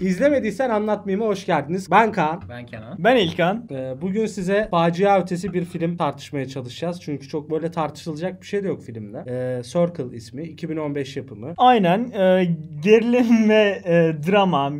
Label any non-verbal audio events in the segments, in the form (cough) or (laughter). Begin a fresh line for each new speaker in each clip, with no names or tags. İzlemediysen anlatmayayım hoş geldiniz. Ben Kaan.
Ben Kenan.
Ben İlkan.
Ee, Bugün size facia ötesi bir film tartışmaya çalışacağız. Çünkü çok böyle tartışılacak bir şey de yok filmde. Ee, Circle ismi. 2015 yapımı.
Aynen e, gerilim ve e, drama,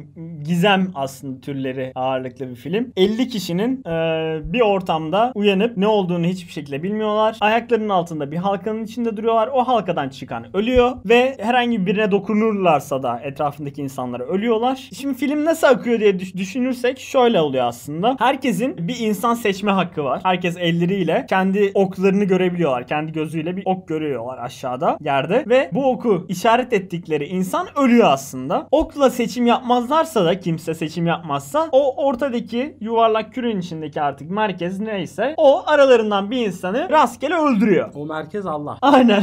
gizem aslında türleri ağırlıklı bir film. 50 kişinin e, bir ortamda uyanıp ne olduğunu hiçbir şekilde bilmiyorlar. Ayaklarının altında bir halkanın içinde duruyorlar. O halkadan çıkan ölüyor ve herhangi birine dokunurlarsa da etrafındaki insanlara ölüyorlar. Şimdi film nasıl akıyor diye düş- düşünürsek şöyle oluyor aslında. Herkesin bir insan seçme hakkı var. Herkes elleriyle kendi oklarını görebiliyorlar. Kendi gözüyle bir ok görüyorlar aşağıda yerde ve bu oku işaret ettikleri insan ölüyor aslında. Okla seçim yapmazlarsa da kimse seçim yapmazsa o ortadaki yuvarlak kürenin içindeki artık merkez neyse o aralarından bir insanı rastgele öldürüyor.
O merkez Allah.
Aynen.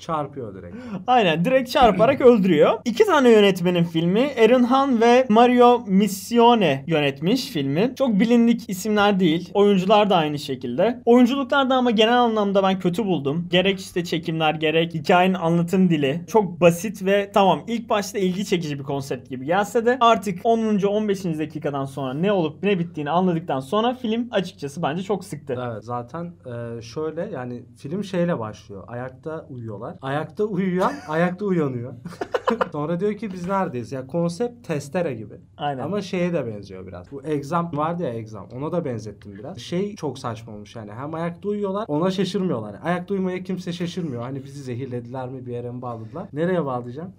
Çarpıyor direkt.
Aynen direkt çarparak öldürüyor. İki tane yönetmenin filmi Aaron Han ve Mario Missione yönetmiş filmi. Çok bilindik isimler değil. Oyuncular da aynı şekilde. Oyunculuklarda ama genel anlamda ben kötü buldum. Gerek işte çekimler gerek hikayenin anlatım dili. Çok basit ve tamam ilk başta ilgi çekici bir konsept gibi gelse de artık 10. 15. dakikadan sonra ne olup ne bittiğini anladıktan sonra film açıkçası bence çok sıktı.
Evet zaten e, şöyle yani film şeyle başlıyor. Ayakta uyuyorlar. Ayakta uyuyan ayakta uyanıyor. (laughs) Sonra diyor ki biz neredeyiz? Ya konsept testere gibi.
Aynen.
Ama şeye de benziyor biraz. Bu egzam vardı ya egzam. Ona da benzettim biraz. Şey çok saçma olmuş yani. Hem ayakta uyuyorlar ona şaşırmıyorlar. Ayakta uyumaya kimse şaşırmıyor. Hani bizi zehirlediler mi bir yere mi bağladılar? Nereye bağlayacağım?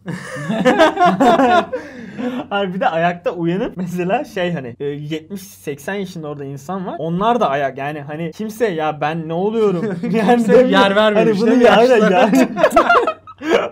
Hayır bir de ayakta uyanıp mesela şey hani e, 70-80 yaşında orada insan var. Onlar da ayak yani hani kimse ya ben
(laughs)
ne oluyorum? Yani
Kimse
demiyor.
yer vermemiş
Hani bunu
değil mi
ya, aynen
yaşlılara?
ya. (laughs)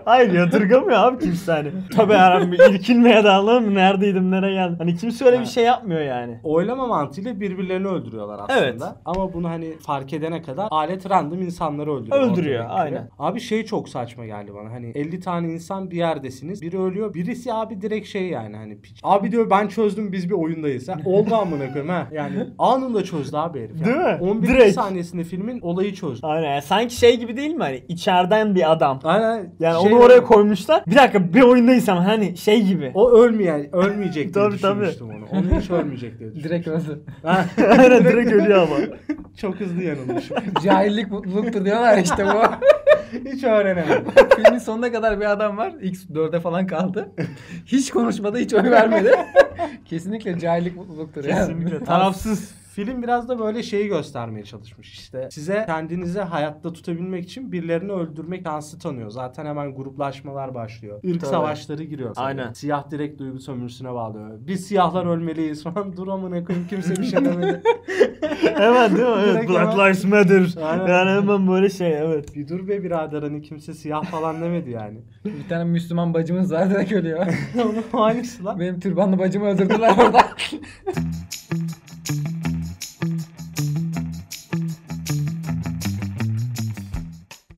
Hayır yadırgamıyor abi kimse hani. Tabii herhalde irkilmeye de anladın mı? Neredeydim nereye geldim? Hani kimse öyle bir şey yapmıyor yani.
Oylama mantığıyla birbirlerini öldürüyorlar aslında.
Evet.
Ama bunu hani fark edene kadar alet random insanları öldürüyor.
Öldürüyor,
ortadakileri.
aynen.
Abi şey çok saçma geldi bana. Hani 50 tane insan bir yerdesiniz. Biri ölüyor. Birisi abi direkt şey yani hani piç. Abi diyor ben çözdüm biz bir oyundayız. Ha, oldu amına koyayım ha.
(laughs)
Yani anında çözdü abi herif. Yani.
Değil mi?
11.
Direkt.
saniyesinde filmin olayı çözdü.
Aynen yani sanki şey gibi değil mi hani içeriden bir adam.
Aynen.
Yani
Şey-
onu oraya koymuşlar. Bir dakika bir oyundaysam hani şey gibi.
O ölmeyen, ölmeyecek diye
Tabii, tabii.
düşünmüştüm onu. Onu hiç ölmeyecek
(laughs)
diye düşünmüştüm.
Direkt öldü. (laughs)
Ha,
(laughs) Aynen direkt ölüyor ama.
çok hızlı yanılmışım.
Cahillik mutluluktur diyorlar ya işte bu. (laughs)
Hiç öğrenemedim.
Filmin sonuna kadar bir adam var. X4'e falan kaldı. Hiç konuşmadı, hiç oy vermedi. Kesinlikle cahillik mutluluktur ya.
Kesinlikle tarafsız.
Film biraz da böyle şeyi göstermeye çalışmış işte. Size kendinizi hayatta tutabilmek için birilerini öldürmek şansı tanıyor. Zaten hemen gruplaşmalar başlıyor. Irk
Tabii.
savaşları giriyor. tabii.
Aynen.
Siyah direkt duygu sömürüsüne bağlıyor. Biz siyahlar ölmeliyiz falan. Dur amına koyayım kimse bir şey
(laughs)
demedi.
Hemen değil mi? Evet,
Direkt
Black
hemen-
Lives Matter.
Aynen.
Yani hemen böyle şey evet.
bir dur be birader hani kimse siyah falan demedi yani. (laughs)
Bir tane Müslüman bacımız var direkt ölüyor.
Onun hangisi lan?
Benim türbanlı bacımı öldürdüler orada.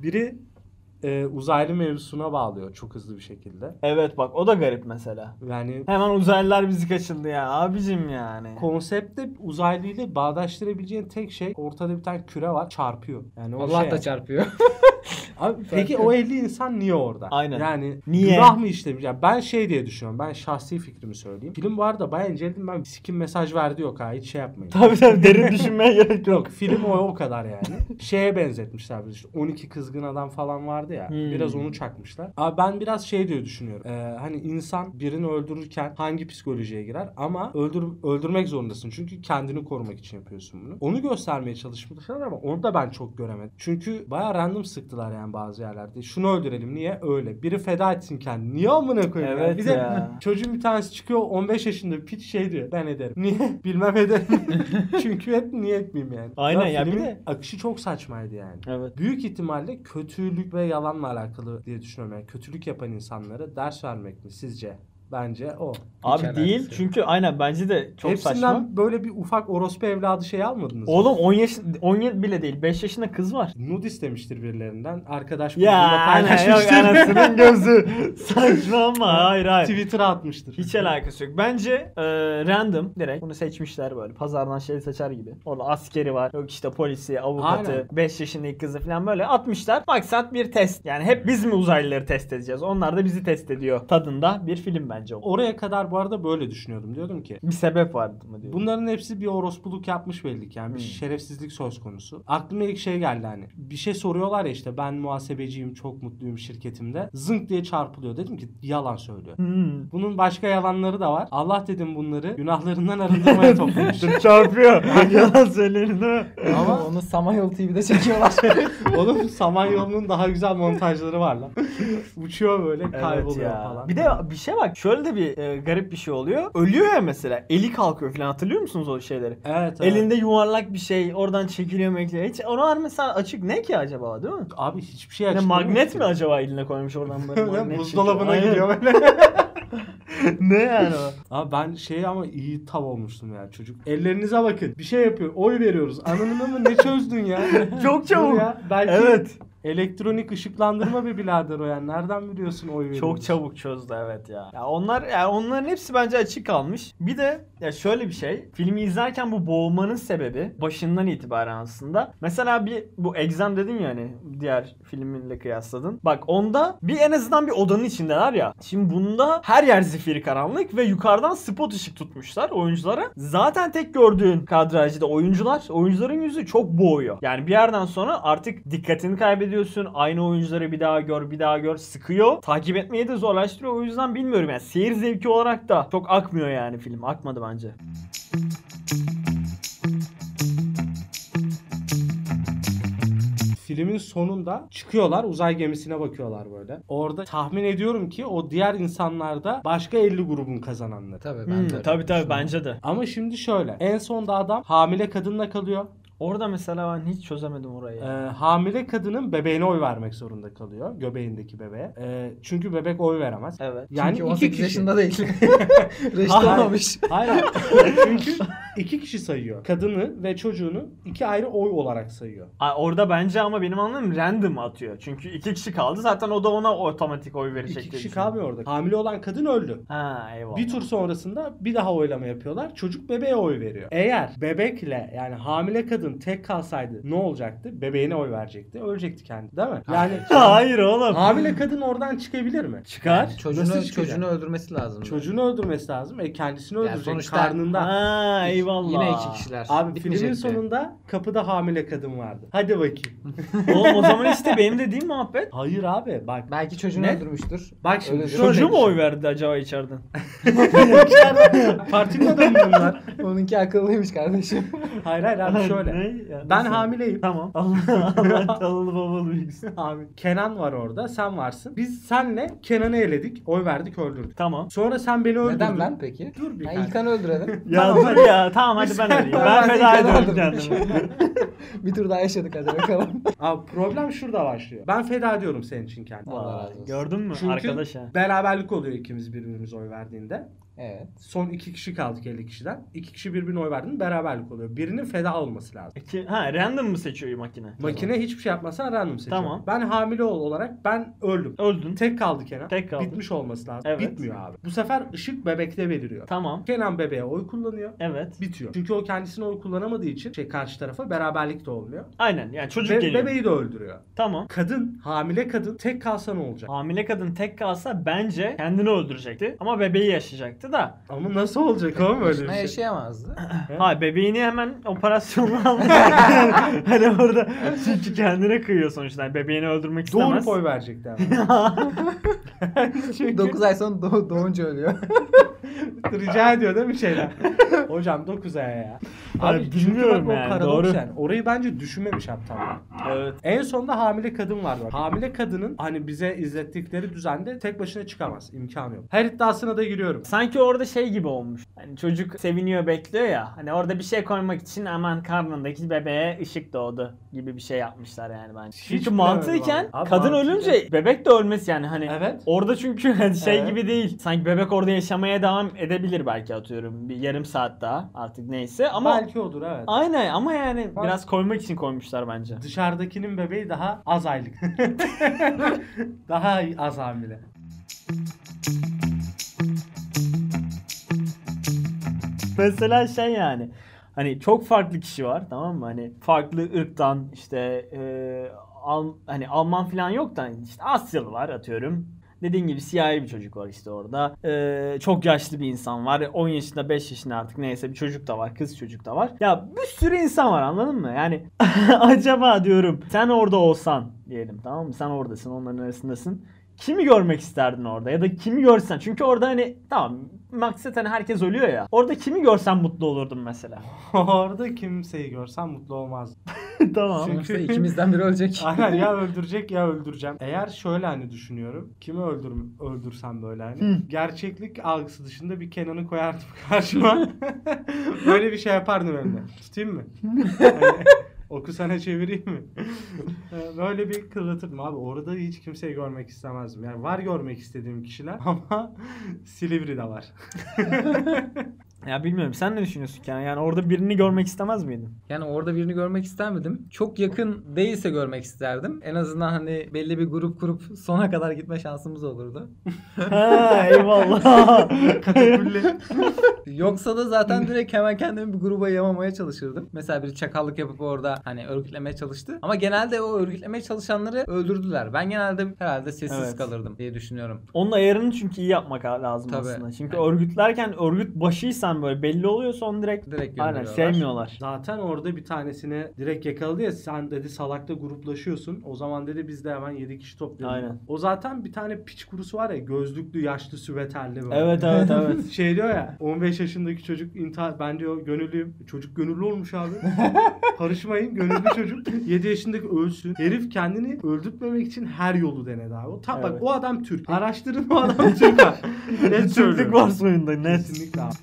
Biri e, uzaylı mevzusuna bağlıyor çok hızlı bir şekilde.
Evet bak o da garip mesela.
Yani
Hemen uzaylılar bizi kaçırdı ya abicim yani.
konsepte uzaylı ile bağdaştırabileceğin tek şey ortada bir tane küre var çarpıyor. Yani o
Allah
şey
da çarpıyor.
Abi peki o 50 insan niye orada?
Aynen.
Yani
Niye?
günah mı işlemiş? Yani ben şey diye düşünüyorum. Ben şahsi fikrimi söyleyeyim. Film var da bayağı inceledim. Ben sikim mesaj verdi yok ha. Hiç şey yapmayın.
Tabii tabii derin düşünmeye
(laughs)
gerek yok.
Yok film o, o kadar
(laughs)
yani. Şeye benzetmişler biz işte 12 kızgın adam falan vardı ya.
Hmm.
Biraz onu çakmışlar. Abi ben biraz şey diye düşünüyorum. Ee, hani insan birini öldürürken hangi psikolojiye girer ama öldür, öldürmek zorundasın. Çünkü kendini korumak için yapıyorsun bunu. Onu göstermeye çalışmışlar ama onu da ben çok göremedim. Çünkü bayağı random sıktılar yani bazı yerlerde. Şunu öldürelim niye? Öyle. Biri feda etsin kendini. Niye amına koyayım? ya?
Evet
Bir de
ya.
çocuğun bir tanesi çıkıyor 15 yaşında piç şey diyor. Ben ederim. Niye? (laughs) Bilmem ederim. (laughs) Çünkü hep niye etmeyeyim yani.
Aynen ya, bir
filmin
de-
akışı çok saçmaydı yani.
Evet.
Büyük ihtimalle kötülük ve yalanla alakalı diye düşünüyorum. Yani kötülük yapan insanlara ders vermek mi sizce? Bence o.
Abi
alakası
değil
yok.
çünkü aynen bence de çok
Hepsinden
saçma.
böyle bir ufak orospu evladı şey almadınız mı?
Oğlum 10 yaş 17 bile değil 5 yaşında
(laughs)
kız var.
Nude istemiştir birilerinden. Arkadaş
Ya
grubunda
aynen, yok
paylaşmıştır. (laughs)
anasının gözü. Saçma ama hayır hayır.
Twitter'a atmıştır.
Hiç alakası yok. Bence e, random direkt bunu seçmişler böyle. Pazardan şey seçer gibi. Orada askeri var. Yok işte polisi, avukatı,
Aynen.
5 yaşındaki kızı falan böyle atmışlar. Maksat bir test. Yani hep biz mi uzaylıları test edeceğiz? Onlar da bizi test ediyor tadında bir film bence o.
Oraya kadar bu arada böyle düşünüyordum. Diyordum ki
Bir sebep vardı mı diyor.
Bunların hepsi bir orospuluk yapmış belli ki. Yani bir
Hmm.
şerefsizlik söz konusu. Aklıma ilk şey geldi hani. Bir şey soruyorlar ya işte ben muhasebeciyim çok mutluyum şirketimde. Zınk diye çarpılıyor. Dedim ki yalan
(laughs)
söylüyor.
Hmm.
(laughs) Bunun başka yalanları da var. Allah dedim bunları
(laughs)
günahlarından arındırmaya toplamış.
Çarpıyor. (laughs) Yalan söylerim değil mi?
Ama
Ama-
(laughs) onu Samanyolu TV'de çekiyorlar.
Oğlum Samanyolu'nun daha güzel montajları var lan. (laughs) Uçuyor böyle kayboluyor falan.
Bir de bir şey bak şöyle de bir e, garip bir şey oluyor. Ölüyor ya mesela. Eli kalkıyor falan hatırlıyor musunuz o şeyleri?
evet, evet.
Elinde yuvarlak bir şey oradan çekiliyor mekliyor. Hiç oralar mesela açık ne ki acaba değil mi?
Abi hiçbir şey
Ne,
açıklamıyor
magnet
ki. (laughs)
mi acaba eline koymuş oradan (laughs) böyle magnet
Buzdolabına
çekiyor? (laughs)
gidiyor böyle.
Aynen. ne yani o?
Abi ben şey ama iyi tav olmuştum ya çocuk. Ellerinize bakın. Bir şey yapıyor. Oy veriyoruz. Ananın ama ne çözdün ya?
(laughs) Çok
Dur
çabuk.
Ya. Belki
Evet.
elektronik ışıklandırma be birader o yani. Nereden biliyorsun oy veriyoruz?
Çok çabuk çözdü evet ya. Ya onlar ya onların hepsi bence açık kalmış. Bir de ya şöyle bir şey. Filmi izlerken bu boğulmanın sebebi başından itibaren aslında. Mesela bir bu Exam dedin ya hani diğer filminle kıyasladın. Bak onda bir en azından bir odanın içindeler ya. Şimdi bunda her yer zifiri karanlık ve yukarıdan spot ışık tutmuşlar oyunculara. Zaten tek gördüğün kadrajda oyuncular. Oyuncuların yüzü çok boğuyor. Yani bir yerden sonra artık dikkatini kaybediyorsun. Aynı oyuncuları bir daha gör, bir daha gör. Sıkıyor. Takip etmeyi de zorlaştırıyor. O yüzden bilmiyorum yani. Seyir zevki olarak da çok akmıyor yani film. Akmadı bence.
Filmin sonunda çıkıyorlar uzay gemisine bakıyorlar böyle. Orada tahmin ediyorum ki o diğer insanlarda başka 50 grubun kazananları.
tabii ben
Hmm,
de. öyle
tabii tabii
düşünüyorum.
bence de.
Ama şimdi şöyle. En sonda adam hamile kadınla kalıyor.
Orada mesela ben hiç çözemedim orayı.
Ee, hamile kadının bebeğine oy vermek zorunda kalıyor. Göbeğindeki bebeğe. Ee, çünkü bebek oy veremez.
Evet.
Yani
Çünkü
iki
18
kişi.
yaşında değil. Reşit
Hayır.
olmamış.
Hayır. (laughs) Çünkü iki kişi sayıyor. Kadını ve çocuğunu iki ayrı oy olarak sayıyor.
(laughs) Ay, Orada bence ama benim anladığım random atıyor. Çünkü iki kişi kaldı zaten o da ona otomatik oy verecek.
iki
diye
kişi
düşünüyorum.
kalmıyor orada. Hamile olan kadın öldü.
Ha eyvallah.
Bir tur sonrasında bir daha oylama yapıyorlar. Çocuk bebeğe oy veriyor. Eğer bebekle yani hamile kadın tek kalsaydı ne olacaktı? Bebeğine oy verecekti. Ölecekti kendi değil mi?
(laughs)
Yani
Hayır oğlum.
hamile kadın oradan çıkabilir mi?
Çıkar.
Çocuğunu,
çıkacak?
çocuğunu öldürmesi lazım.
Çocuğunu öldürmesi lazım. E kendisini
Yani
öldürecek.
sonuçta-
Karnından.
Ha eyvallah.
Yine iki kişiler.
Abi filmin
Bitmeyecekti.
sonunda kapıda hamile kadın vardı. Hadi bakayım.
(laughs) Oğlum o zaman işte benim dediğim muhabbet.
Hayır abi bak.
Belki çocuğunu
Ne?
öldürmüştür.
Bak şimdi
Öyle
şöyle
Çocuğu mu
düşün.
oy verdi
(laughs)
acaba içeriden?
(laughs)
Partinin adamı bunlar.
Onunki akıllıymış kardeşim.
Hayır hayır abi şöyle.
Ne? Ya,
Ben
nasıl?
hamileyim. (laughs)
Tamam. Allah Allah talalı babalı bilgisi.
Abi Kenan var orada, sen varsın. Biz senle Kenan'ı eledik, oy verdik, öldürdük.
Tamam.
Sonra sen beni öldürdün.
Neden ben peki?
Dur bir
Ha,
dakika.
İlkan'ı öldürelim.
Ya
Tamam,
dur ya tamam hadi
(laughs)
ben öleyim.
Ben
Ben feda
ilk
ediyorum
adamdım.
kendimi.
bir tur daha yaşadık hadi bakalım.
Abi problem şurada başlıyor. Ben feda ediyorum senin için kendimi.
Allah razı
Vay,
olsun.
(laughs) Gördün mü
Çünkü
arkadaş ha?
beraberlik oluyor ikimiz birbirimize oy verdiğinde.
evet.
Son iki kişi kaldık 50 kişiden. İki kişi birbirine oy verdiğinde beraberlik oluyor. Birinin feda olması lazım.
İki- ha random mı seçiyor makine?
Makine hiçbir şey yapmasan random seçiyor.
Tamam.
Ben hamile ol olarak ben öldüm.
Öldün.
Tek kaldı Kenan.
Tek kaldı.
Bitmiş olması lazım.
Evet.
Bitmiyor abi. Bu sefer ışık bebekte beliriyor.
Tamam.
Kenan bebeğe oy kullanıyor.
Evet.
Bitiyor. Çünkü o kendisine oy kullanamadığı için şey karşı tarafa beraberlik de olmuyor.
Aynen yani çocuk
Ve
geliyor.
bebeği de öldürüyor.
Tamam.
Kadın, hamile kadın tek kalsa ne olacak?
Hamile kadın tek kalsa bence kendini öldürecekti ama bebeği yaşayacaktı da.
Ama nasıl olacak oğlum öyle
Boşuna
bir şey?
yaşayamazdı.
Ha bebeğini hemen operasyonla
(laughs)
aldı. hani orada çünkü kendine kıyıyor sonuçta. Yani bebeğini öldürmek istemez.
Doğurup oy verecekti
(laughs)
ama. (laughs) Çünkü
9 ay sonra doğ-
(laughs)
doğunca ölüyor.
(laughs)
rica ediyor değil mi şeyler? Hocam 9 aya ya.
Abi
çünkü
bilmiyorum
bak o
yani,
paradoks
doğru.
yani. Orayı bence düşünmemiş Aptal Man.
Evet.
En sonda hamile kadın var. Hamile kadının hani bize izlettikleri düzende tek başına çıkamaz. İmkanı yok. Her iddiasına da giriyorum.
Sanki orada şey gibi olmuş. Hani çocuk seviniyor bekliyor ya. Hani orada bir şey koymak için aman karnındaki bebeğe ışık doğdu gibi bir şey yapmışlar yani bence. çünkü
bilemedim
mantıken
abi. Abi
kadın
mantıken-
ölünce bebek de ölmesi yani hani
Evet.
orada çünkü (laughs) hani şey
Evet.
gibi değil. Sanki bebek orada yaşamaya devam edebilir belki atıyorum bir yarım saat daha artık neyse ama
Belki odur evet.
aynen ama yani
Bak-
biraz koymak için koymuşlar bence.
Dışarıdakinin bebeği daha az
(laughs)
aylık. (laughs) daha az hamile.
(laughs) Mesela şey yani hani çok farklı kişi var tamam mı? Hani farklı ırktan işte e, Al- hani Alman falan yok da hani işte Asyalı var atıyorum. Dediğin gibi siyahi bir çocuk var işte orada. E, çok yaşlı bir insan var. 10 yaşında 5 yaşında artık neyse bir çocuk da var. Kız çocuk da var. Ya bir sürü insan var anladın mı? Yani (laughs) acaba diyorum sen orada olsan diyelim tamam mı? Sen oradasın onların arasındasın. Kimi görmek isterdin orada ya da kimi görsen? Çünkü orada hani tamam maksat hani herkes ölüyor ya. Orada kimi görsen mutlu olurdun mesela.
Orada kimseyi görsem mutlu olmaz.
tamam.
Sonuçta ikimizden biri (laughs) ölecek.
(laughs) Aynen ya öldürecek ya öldüreceğim. Eğer şöyle hani düşünüyorum. Kimi öldür öldürsem böyle hani.
Hı.
Gerçeklik algısı dışında bir Kenan'ı koyardım (laughs) karşıma. böyle bir şey yapardım önüne. Tutayım mı? Hani, (laughs) oku sana çevireyim mi? (laughs) Ee, böyle bir kıvırtırdım abi. Orada hiç kimseyi görmek istemezdim. Yani var görmek istediğim kişiler (laughs) ama Silivri'de var. (laughs)
Ya bilmiyorum sen ne düşünüyorsun Kenan? Yani orada birini görmek
(laughs)
istemez miydin?
Yani orada birini görmek istemedim. Çok yakın değilse görmek isterdim. En azından hani belli bir grup kurup sona kadar gitme şansımız olurdu.
ha eyvallah.
Katakulli.
Yoksa da
Hmm.
zaten direkt hemen kendimi bir gruba yamamaya çalışırdım. Mesela biri çakallık yapıp orada hani örgütlemeye çalıştı. Ama genelde o örgütlemeye çalışanları öldürdüler. Ben genelde herhalde sessiz
Evet.
kalırdım diye düşünüyorum.
Onun ayarını çünkü iyi yapmak lazım
Tabii.
aslında. Çünkü
Yani-
örgütlerken örgüt başıysan böyle belli oluyorsa onu direkt,
Direkt
aynen
gönderiyorlar.
sevmiyorlar.
Zaten orada bir tanesini direkt yakaladı ya sen dedi salakta gruplaşıyorsun. O zaman dedi biz de hemen 7 kişi topluyoruz.
Aynen.
O zaten bir tane piç kurusu var ya gözlüklü yaşlı süveterli böyle. (laughs)
Evet evet evet.
Şey diyor ya 15 yaşındaki çocuk intihar ben diyor gönüllüyüm. Çocuk gönüllü olmuş
(laughs)
abi. Karışmayın gönüllü çocuk. 7 yaşındaki ölsün. Herif kendini öldürtmemek için her yolu denedi abi. O, tam,
Evet.
Bak o adam Türk. Araştırın o adam Türk. ha. Net
(laughs) Türklük
söylüyorum.
var soyunda net.
Kesinlikle abi.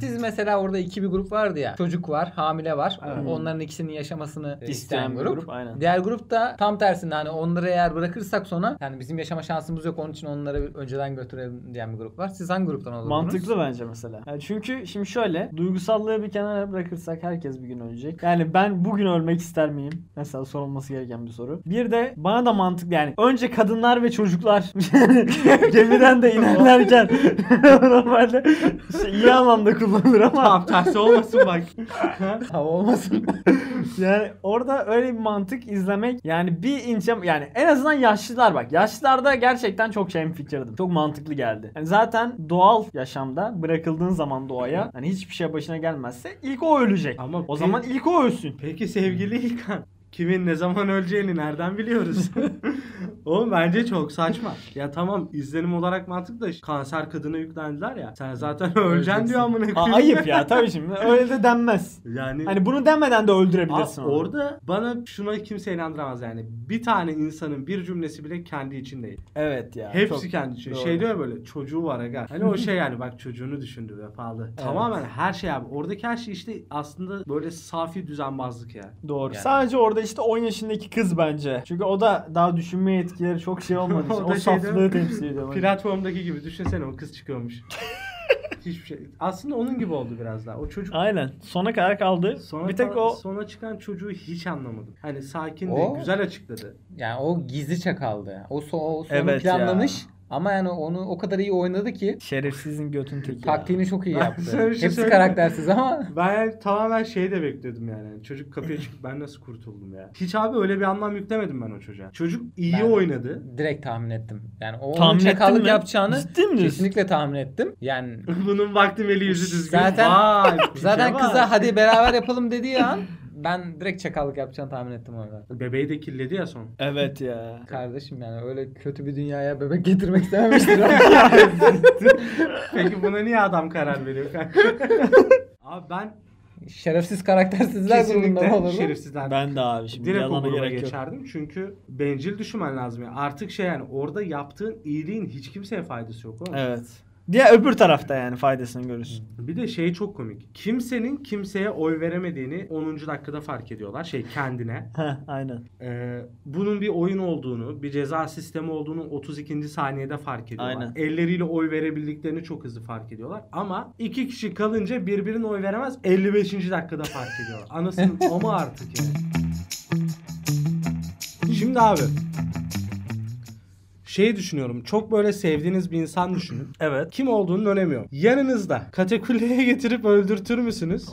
Siz mesela orada iki bir grup vardı ya. Çocuk var, hamile var.
Evet.
Onların ikisinin yaşamasını
İsteyen
isteyen
E, bir
grup.
grup, aynen.
Diğer grup da tam tersinde hani onları eğer bırakırsak sonra yani bizim yaşama şansımız yok onun için onları önceden götürelim diyen bir grup var. Siz hangi gruptan olurdunuz?
Mantıklı bence mesela. Yani çünkü şimdi şöyle duygusallığı bir kenara bırakırsak herkes bir gün ölecek. Yani ben bugün ölmek ister miyim? Mesela sorulması gereken bir soru. Bir de bana da mantıklı yani önce kadınlar ve çocuklar (laughs) gemiden de inerlerken (laughs) normalde şey, iyi anlamda kullanılır ama
Tamam tersi olmasın bak.
Hava olmasın.
yani orada öyle bir mantık izlemek yani bir ince yani en azından yaşlılar bak yaşlılarda gerçekten çok şey fikirdim. Çok mantıklı geldi. Yani zaten doğal yaşamda bırakıldığın zaman doğaya hani hiçbir şey başına gelmezse ilk o ölecek.
Ama
O zaman ilk o ölsün.
(laughs) Peki sevgili
Hmm.
İlkan, kimin ne zaman öleceğini nereden
(laughs)
biliyoruz? Oğlum bence çok saçma. Ya tamam izlenim olarak mantıklı da kanser kadına yüklendiler ya. Sen zaten öleceksin
Öleceksin.
diyor amına
Aa,
koyayım.
ayıp ya tabii şimdi öyle de denmez.
Yani
Hani bunu demeden de
Aa,
öldürebilirsin. onu.
orada bana şuna kimse inandıramaz yani. Bir tane insanın bir cümlesi bile kendi için değil.
evet ya.
Hepsi
çok-
kendi için.
doğru.
Şey diyor ya böyle çocuğu var aga. Hani o şey yani bak çocuğunu düşündü
(laughs)
vefalı. Tamamen her şey abi. Oradaki her şey işte aslında böyle safi düzenbazlık ya.
Doğru.
Yani.
Sadece orada işte 10 yaşındaki kız bence. Çünkü o da daha düşünme yetkileri çok şey olmadı.
(laughs) O
o
da şey değil mi?
saflığı temsil ediyor. bence.
Platformdaki gibi düşünsene o kız
(laughs)
çıkıyormuş. Hiçbir şey. Aslında onun gibi oldu biraz daha. O çocuk
Aynen. Sona kadar kaldı.
Sonra
bir tek
kal-
o
sona çıkan çocuğu hiç anlamadım. Hani sakindi,
O-
güzel açıkladı.
Yani o gizli çakaldı. O, so o sonu
Evet ya.
planlamış ama yani onu o kadar iyi oynadı ki
şerefsizin götün teki.
taktiğini çok iyi
Ben
yaptı.
sana bir şey
Hepsi
söyleyeyim mi?
karaktersiz ama
Ben tamamen şey de bekliyordum yani. Hani Çocuk kapıya çıkıp ben nasıl kurtuldum ya. Hiç abi öyle bir anlam yüklemedim ben o çocuğa. Çocuk iyi
Ben-
oynadı. (laughs)
direkt tahmin ettim. Yani o
Tahmin
onun
ettin
çakallık
mi?
yapacağını
Ciddi mi diyorsun?
kesinlikle tahmin ettim. Yani
Bunun vakti eli yüzü düzgün.
Zaten- (laughs)
Vay, şey piçe
zaten
bak.
kıza hadi beraber yapalım dediği an ben direkt çakallık yapacağını tahmin ettim orada.
Bebeği de kirledi ya
(laughs)
son. (laughs)
Evet ya.
Kardeşim yani öyle kötü bir dünyaya bebek getirmek
(laughs)
istememiştir.
Peki buna niye adam karar veriyor kanka?
(laughs)
Abi ben
Şerefsiz karaktersizler grubunda mı
kesinlikle
olurdum?
şerefsizler.
Ben de abi şimdi
Direkt o
yalana
gruba
gerek yok.
geçerdim. Çünkü bencil düşünmen lazım. Yani. Artık şey yani orada yaptığın iyiliğin hiç kimseye faydası yok. oğlum.
Evet. Diğer öbür tarafta yani faydasını görürsün.
Bir de şey çok komik. Kimsenin kimseye oy veremediğini 10. dakikada fark ediyorlar. Şey kendine.
Heh, aynen.
Ee, bunun bir oyun olduğunu, bir ceza sistemi olduğunu 32. saniyede fark ediyorlar.
Aynen.
Elleriyle oy verebildiklerini çok hızlı fark ediyorlar. Ama iki kişi kalınca birbirine oy veremez 55. dakikada fark ediyorlar.
(laughs)
Anasının o mu artık yani? Şimdi abi şey düşünüyorum. Çok böyle sevdiğiniz bir insan düşünün.
(clears throat) Evet.
Kim olduğunun önemi yok. Yanınızda katakulleye getirip öldürtür müsünüz?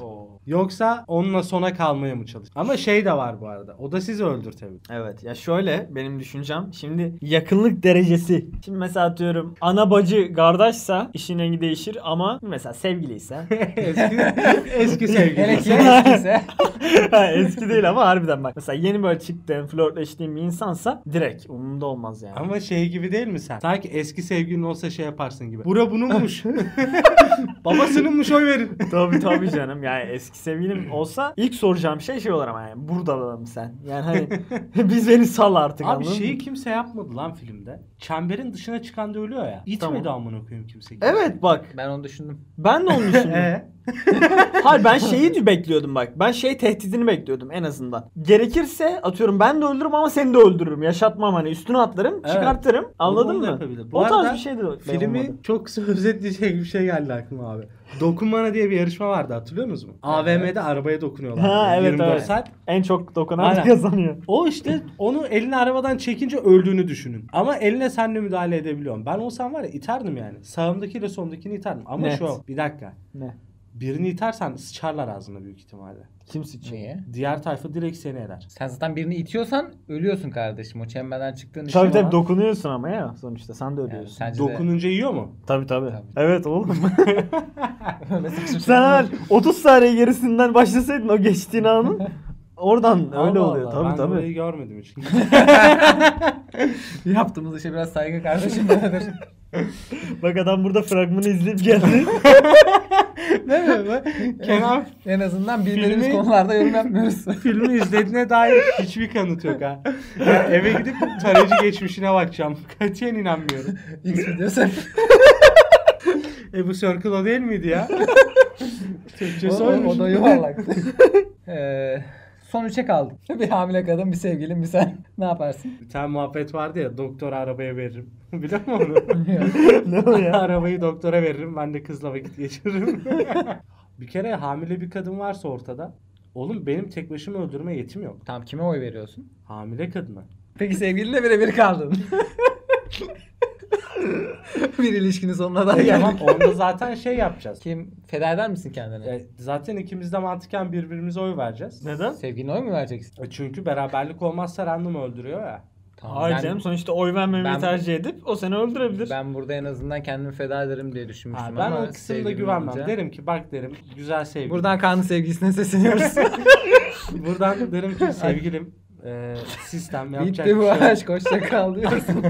Yoksa onunla sona kalmaya mı çalış? Ama şey de var bu arada. O da sizi öldürtebilir.
Evet ya şöyle benim düşüncem şimdi yakınlık derecesi. Şimdi mesela atıyorum ana bacı kardeşse işin rengi değişir ama
(laughs)
mesela sevgiliyse.
eski, eski
Hele ki
sevgilisi.
eskiyse.
Ha, Eski değil ama harbiden bak. Mesela yeni böyle çıktığın flörtleştiğin bir insansa direkt umurumda olmaz yani.
Ama şey gibi değil mi sen? Sanki eski sevgilin olsa şey yaparsın gibi. Bura (laughs) bununmuş. Babasınınmış oy verin.
tabii tabii canım yani eski sevgilim olsa ilk soracağım şey şey olur ama yani burada mı sen? Yani hani (laughs) biz beni sal artık
Abi
anladın mı?
şeyi kimse yapmadı lan filmde. Çemberin dışına çıkan da ölüyor ya. İtmedi
Tamam.
amına koyayım kimse.
Evet bak
Ben onu düşündüm.
ben de onu
(laughs)
düşündüm.
Ee?
Hayır ben şeyi de bekliyordum bak. Ben şey tehdidini bekliyordum en azından. Gerekirse atıyorum ben de öldürürüm ama seni de öldürürüm. Yaşatmam hani üstüne atlarım
Evet.
çıkartırım. Anladın
Onu da
mı?
yapabilir. Bu
O tarz
arada
bir şey de olmadı.
Filmi (laughs) çok kısa özetleyecek bir şey geldi aklıma abi. Dokunmana diye bir yarışma vardı hatırlıyor musunuz? AVM'de arabaya dokunuyorlar.
Ha, evet,
24
evet.
saat.
en çok dokunan
Aynen.
(laughs) kazanıyor.
O işte onu eline arabadan çekince öldüğünü düşünün. Ama eline sen de müdahale edebiliyorsun. Ben olsam var ya iterdim yani. Sağımdakiyle solumdakini iterdim. Ama
Net.
şu bir dakika.
Ne?
Birini itersen sıçarlar ağzına büyük ihtimalle.
Kim sıçıyor?
Niye?
Diğer tayfa direkt seni eder.
Sen zaten birini itiyorsan ölüyorsun kardeşim. O çemberden çıktığın için.
Tabii tabii
olan-
dokunuyorsun ama ya sonuçta sen de ölüyorsun.
sence de- (laughs)
Dokununca yiyor mu?
Tabii, tabii
Tabii.
Evet oğlum.
Öyle saçma
sen
şeyler.
eğer 30 saniye gerisinden başlasaydın o geçtiğin anın oradan öyle
Allah
oluyor.
Allah,
Tabii
ben
tabii.
orayı görmedim hiç.
(laughs) Yaptığımız işe biraz saygı kardeşim nedir?
Bak adam burada fragmanı izleyip geldi.
(laughs)
(laughs)
Değil mi? Kenan
(laughs) en azından bilmediğimiz
Filmi-
konularda yorum yapmıyoruz. (laughs)
filmi izlediğine dair hiçbir kanıt yok ha. Yani eve gidip tarayıcı geçmişine bakacağım. Katiyen inanmıyorum.
X videosu.
E bu Circle o değil miydi ya?
o,
Türkçesi
o,
oymuş.
o
(laughs)
da yuvarlak. Ee, son üçe kaldık. (laughs) Bir hamile kadın, bir sevgilin, bir sen. (laughs) Ne yaparsın?
Bir tane muhabbet vardı ya doktora arabaya veririm. (laughs) Biliyor
(laughs)
musun (laughs)
ne o
onu?
ya?
Arabayı doktora veririm ben de kızla vakit geçiririm. (laughs) bir kere hamile bir kadın varsa ortada. Oğlum benim tek başıma öldürme yetim yok.
Tamam kime oy veriyorsun?
Hamile kadına.
Peki sevgilinle birebir
(laughs)
kaldın. (laughs) bir ilişkinin sonuna (laughs) da
E
geldik.
tamam onda zaten şey yapacağız.
Kim feda eder misin kendini?
E, zaten ikimiz de mantıken birbirimize oy vereceğiz.
Neden?
Sevgiline oy mu vereceksin?
E Çünkü beraberlik olmazsa random öldürüyor ya.
Tamam.
Hayır
ben,
canım sonuçta oy vermemi
ben-
tercih edip o seni öldürebilir.
ben burada en azından kendimi feda ederim diye
Ha,
düşünmüştüm
ben
ama
o kısımda
sevgilim
güvenmem.
olunca-
Derim ki bak derim güzel sevgilim.
Buradan kanun sevgisine
(laughs)
sesleniyoruz.
buradan
(laughs)
derim ki sevgilim e, sistem yapacak
Bitti bu
bir şey yok.
aşk hoşça
(laughs)
kal diyorsun.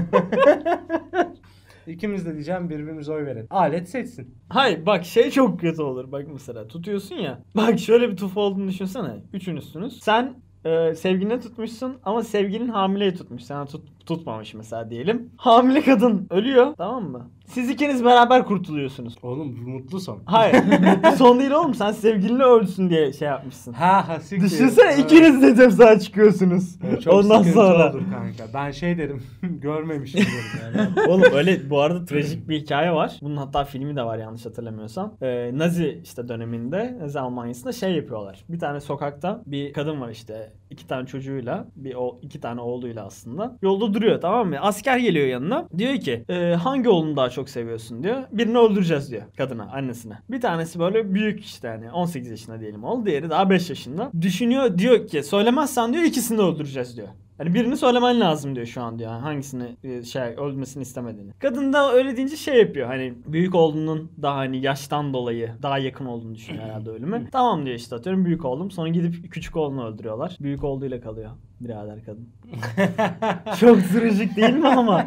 İkimiz de diyeceğim birbirimize oy verin. Alet seçsin.
Hayır bak şey çok kötü olur. Bak mesela tutuyorsun ya. Bak şöyle bir tufa olduğunu düşünsene. Üçünüzsünüz. Sen e, sevgiline tutmuşsun ama sevgilin hamileyi tutmuş. Sana tut, tutmamış mesela diyelim. Hamile kadın ölüyor tamam mı? Siz ikiniz beraber kurtuluyorsunuz.
Oğlum bu mutlu son.
Hayır. (laughs) son değil oğlum. Sen sevgilini ölsün diye şey yapmışsın.
Ha ha siktir.
Düşünsene
Evet.
ikiniz de ceza çıkıyorsunuz.
Evet, Çok
Ondan
sıkıntı
sonra.
olur kanka. Ben şey derim (laughs) görmemişim derim (laughs) yani.
Oğlum öyle bu arada trajik bir hikaye var. Bunun hatta filmi de var yanlış hatırlamıyorsam. Ee, Nazi işte döneminde Nazi Almanya'sında şey yapıyorlar. Bir tane sokakta bir kadın var işte iki tane çocuğuyla bir o iki tane oğluyla aslında. Yolda duruyor tamam mı? Asker geliyor yanına. Diyor ki "Ee, hangi oğlunu daha çok seviyorsun diyor. Birini öldüreceğiz diyor kadına annesine. Bir tanesi böyle büyük işte hani 18 yaşında diyelim oğlu. Diğeri daha 5 yaşında. Düşünüyor diyor ki söylemezsen diyor ikisini de öldüreceğiz diyor. Hani birini söylemen lazım diyor şu an diyor. Yani hangisini e, şey ölmesini istemediğini. Kadın da öyle deyince şey yapıyor. Hani büyük oğlunun daha hani yaştan dolayı daha yakın olduğunu düşünüyor
(laughs)
herhalde ölümü. tamam diyor işte atıyorum büyük oğlum. Sonra gidip küçük oğlunu öldürüyorlar. Büyük oğluyla kalıyor
(laughs)
birader kadın. Çok zırıcık değil mi ama?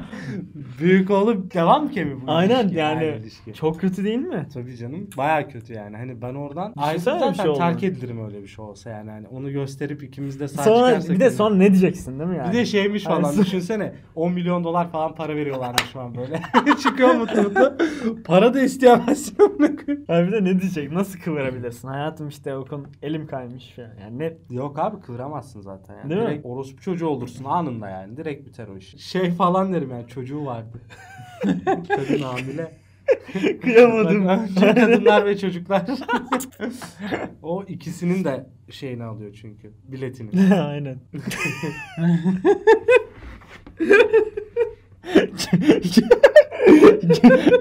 Büyük oğlu devam ki mi bu
Aynen
ilişki?
yani.
Aynı ilişki.
Çok kötü değil mi?
Tabii canım. Baya kötü yani. Hani ben oradan
Düşünsene
ayrılıp
öyle bir
zaten
şey
terk
olduğunu.
edilirim öyle bir şey olsa yani. Hani onu gösterip ikimiz de sağ
Sonra
çıkarsak.
bir de sonra ne diyeceksin değil mi yani?
Bir de şeymiş falan
Aynen.
düşünsene 10 milyon dolar falan para veriyorlarmış şu an böyle. (laughs) Çıkıyor mutlu mutlu. Para da isteyemezsin (laughs) onu.
Abi bir de ne diyecek? Nasıl kıvırabilirsin? Hayatım işte o konu elim kaymış falan. Yani ne
Yok abi kıvıramazsın zaten yani.
Değil mi?
Direkt orospu çocuğu olursun anında yani. Direkt biter o iş. (laughs) Şey falan derim yani çocuğu (laughs) vardı. Kadın (laughs) hamile.
kıyamadım.
Bak, Kadınlar ve çocuklar. (laughs) o ikisinin de şeyini alıyor çünkü. Biletini. (laughs)
(laughs) Aynen.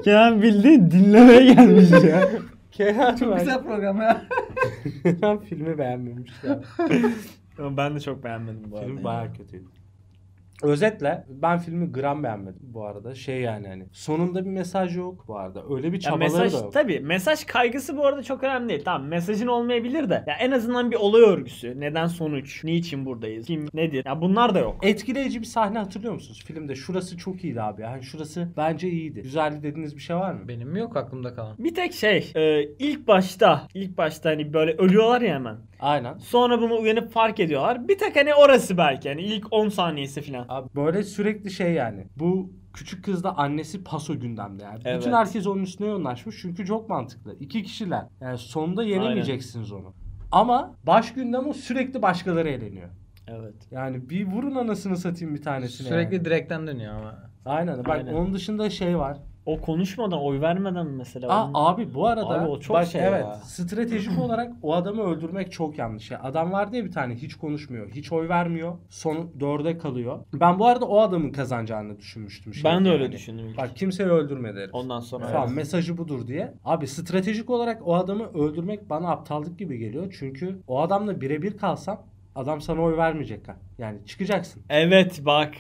Kenan bildiğin dinlemeye gelmiş ya.
Kenan
Çok güzel program ya.
Ben filmi beğenmemiş ya.
Ben de çok beğenmedim bu arada.
Film bayağı kötüydü. Özetle ben filmi gram beğenmedim bu arada. Şey yani hani sonunda bir mesaj yok bu arada. Öyle bir
Ya
çabaları
mesaj
da yok.
tabii mesaj kaygısı bu arada çok önemli değil. Tamam mesajın olmayabilir de ya en azından bir olay örgüsü, neden sonuç, niçin buradayız, kim nedir? Ya bunlar da yok.
Etkileyici bir sahne hatırlıyor musunuz filmde? Şurası çok iyiydi abi. Yani şurası bence iyiydi. Güzeldi dediğiniz bir şey var mı?
Benim yok aklımda kalan.
Bir tek şey e, ilk başta ilk başta hani böyle ölüyorlar ya hemen.
Aynen.
Sonra bunu uyanıp fark ediyorlar. Bir tek hani orası belki hani ilk 10 saniyesi falan.
Abi böyle sürekli şey yani. Bu küçük kızla annesi paso gündemde yani.
Evet.
Bütün herkes onun üstüne yoğunlaşmış çünkü çok mantıklı. İki kişiler. Yani sonunda yenemeyeceksiniz onu. Ama baş gündem o sürekli başkaları eğleniyor.
Evet.
Yani bir vurun anasını satayım bir tanesine.
Sürekli
yani.
direkten dönüyor ama.
Aynen. Bak
Aynen.
onun dışında şey var.
O konuşmadan oy vermeden mesela.
Aa,
onun-
abi bu arada
Abi o çok
bak,
şey
evet
ya.
stratejik
(clears throat)
olarak o adamı öldürmek çok yanlış. Ya adam var diye bir tane hiç konuşmuyor, hiç oy vermiyor. Son dörde kalıyor. Ben bu arada o adamın kazanacağını düşünmüştüm şey
ben de
diye
öyle
yani.
düşündüm ilk.
Bak kimseyi öldürme derim.
Ondan sonra.
Falan, mesajı budur diye. Abi stratejik olarak o adamı öldürmek bana aptallık gibi geliyor. Çünkü o adamla birebir kalsan adam sana oy vermeyecek. ha. Yani çıkacaksın.
Evet bak.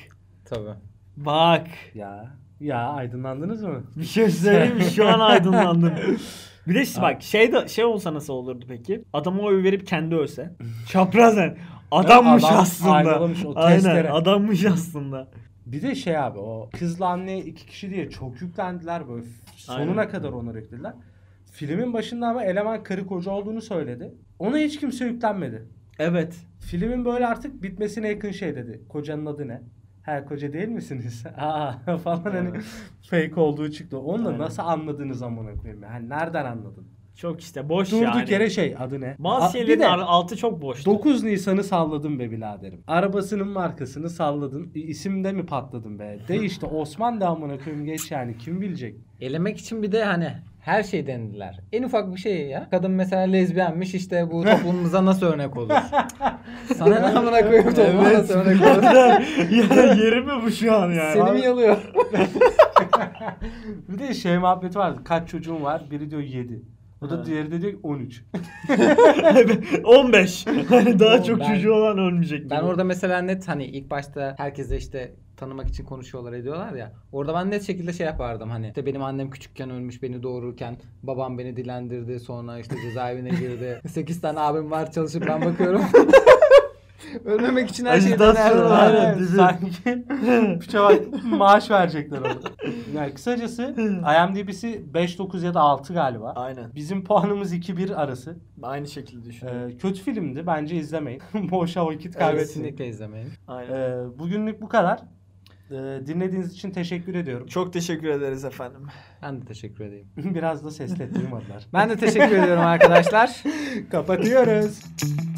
Tabii.
Bak.
Ya ya aydınlandınız mı?
Bir şey söyleyeyim mi? Şu an aydınlandım.
(laughs)
Bir de işte bak şey de şey olsa nasıl olurdu peki? Adama oy verip kendi
(laughs)
ölse. Çaprazen. Adammış
Adam
aslında.
ayrılamış, o
(laughs) Aynen
testere.
adammış aslında.
Bir de şey abi o kızla anne iki kişi diye çok yüklendiler böyle sonuna
Aynen.
kadar ona yüklediler. Filmin başında ama eleman karı koca olduğunu söyledi. Ona hiç kimse yüklenmedi.
Evet.
Filmin böyle artık bitmesine yakın şey dedi. Kocanın adı ne? Ha koca değil misiniz? (laughs) Aa falan hani fake olduğu çıktı. Onu da
Aynen.
nasıl anladınız amına koyayım? Yani nereden anladın?
Çok işte boş
Durduk
yani.
yere şey adı ne?
Bazı
Aa, bir
şeylerin
de-
ar- altı çok boştu.
9 Nisan'ı salladın be biraderim. Arabasının markasını salladın. İ- İsimde mi patladın be? De işte Osman da amına koyayım geç yani kim bilecek?
Elemek için bir de hani her şey denediler. En ufak bir şey ya. Kadın mesela lezbiyenmiş
(laughs)
işte bu toplumumuza nasıl örnek olur? Sana ne amına koyayım topluma nasıl örnek olur?
(laughs)
(laughs)
ya yeri mi bu şu an yani?
Seni mi yalıyor?
Bir de şey muhabbeti vardı. Kaç çocuğun var? Biri diyor 7. O
Ha.
da diğeri de diyor 13. (laughs)
15. Hani daha
Oğlum
çok
ben-
çocuğu olan ölmeyecek. gibi.
Ben orada mesela net hani ilk başta herkese işte tanımak için konuşuyorlar ediyorlar ya. Orada ben net şekilde şey yapardım hani. İşte benim annem küçükken ölmüş beni doğururken babam beni dilendirdi sonra işte cezaevine girdi. 8 tane abim var çalışıp ben bakıyorum. Ölmemek için her şeyi
Ajitasyon,
denerdim.
aynen.
(laughs)
Aynen.
Yani
dizi.
Sanki piça bak maaş verecekler ona. Yani kısacası IMDb'si 5, 9 ya da 6 galiba.
Aynen.
Bizim puanımız 2-1 arası.
Aynı şekilde düşünüyorum.
Ee, kötü filmdi. Bence izlemeyin. (laughs) Boşa vakit kaybetmeyin.
Kesinlikle izlemeyin.
Aynen.
Ee, bugünlük bu kadar. Ee, dinlediğiniz için teşekkür ediyorum. (laughs)
Çok teşekkür ederiz efendim.
Ben de teşekkür edeyim.
Biraz da sesle duymadılar.
(laughs) Ben de teşekkür ediyorum arkadaşlar.
Kapatıyoruz.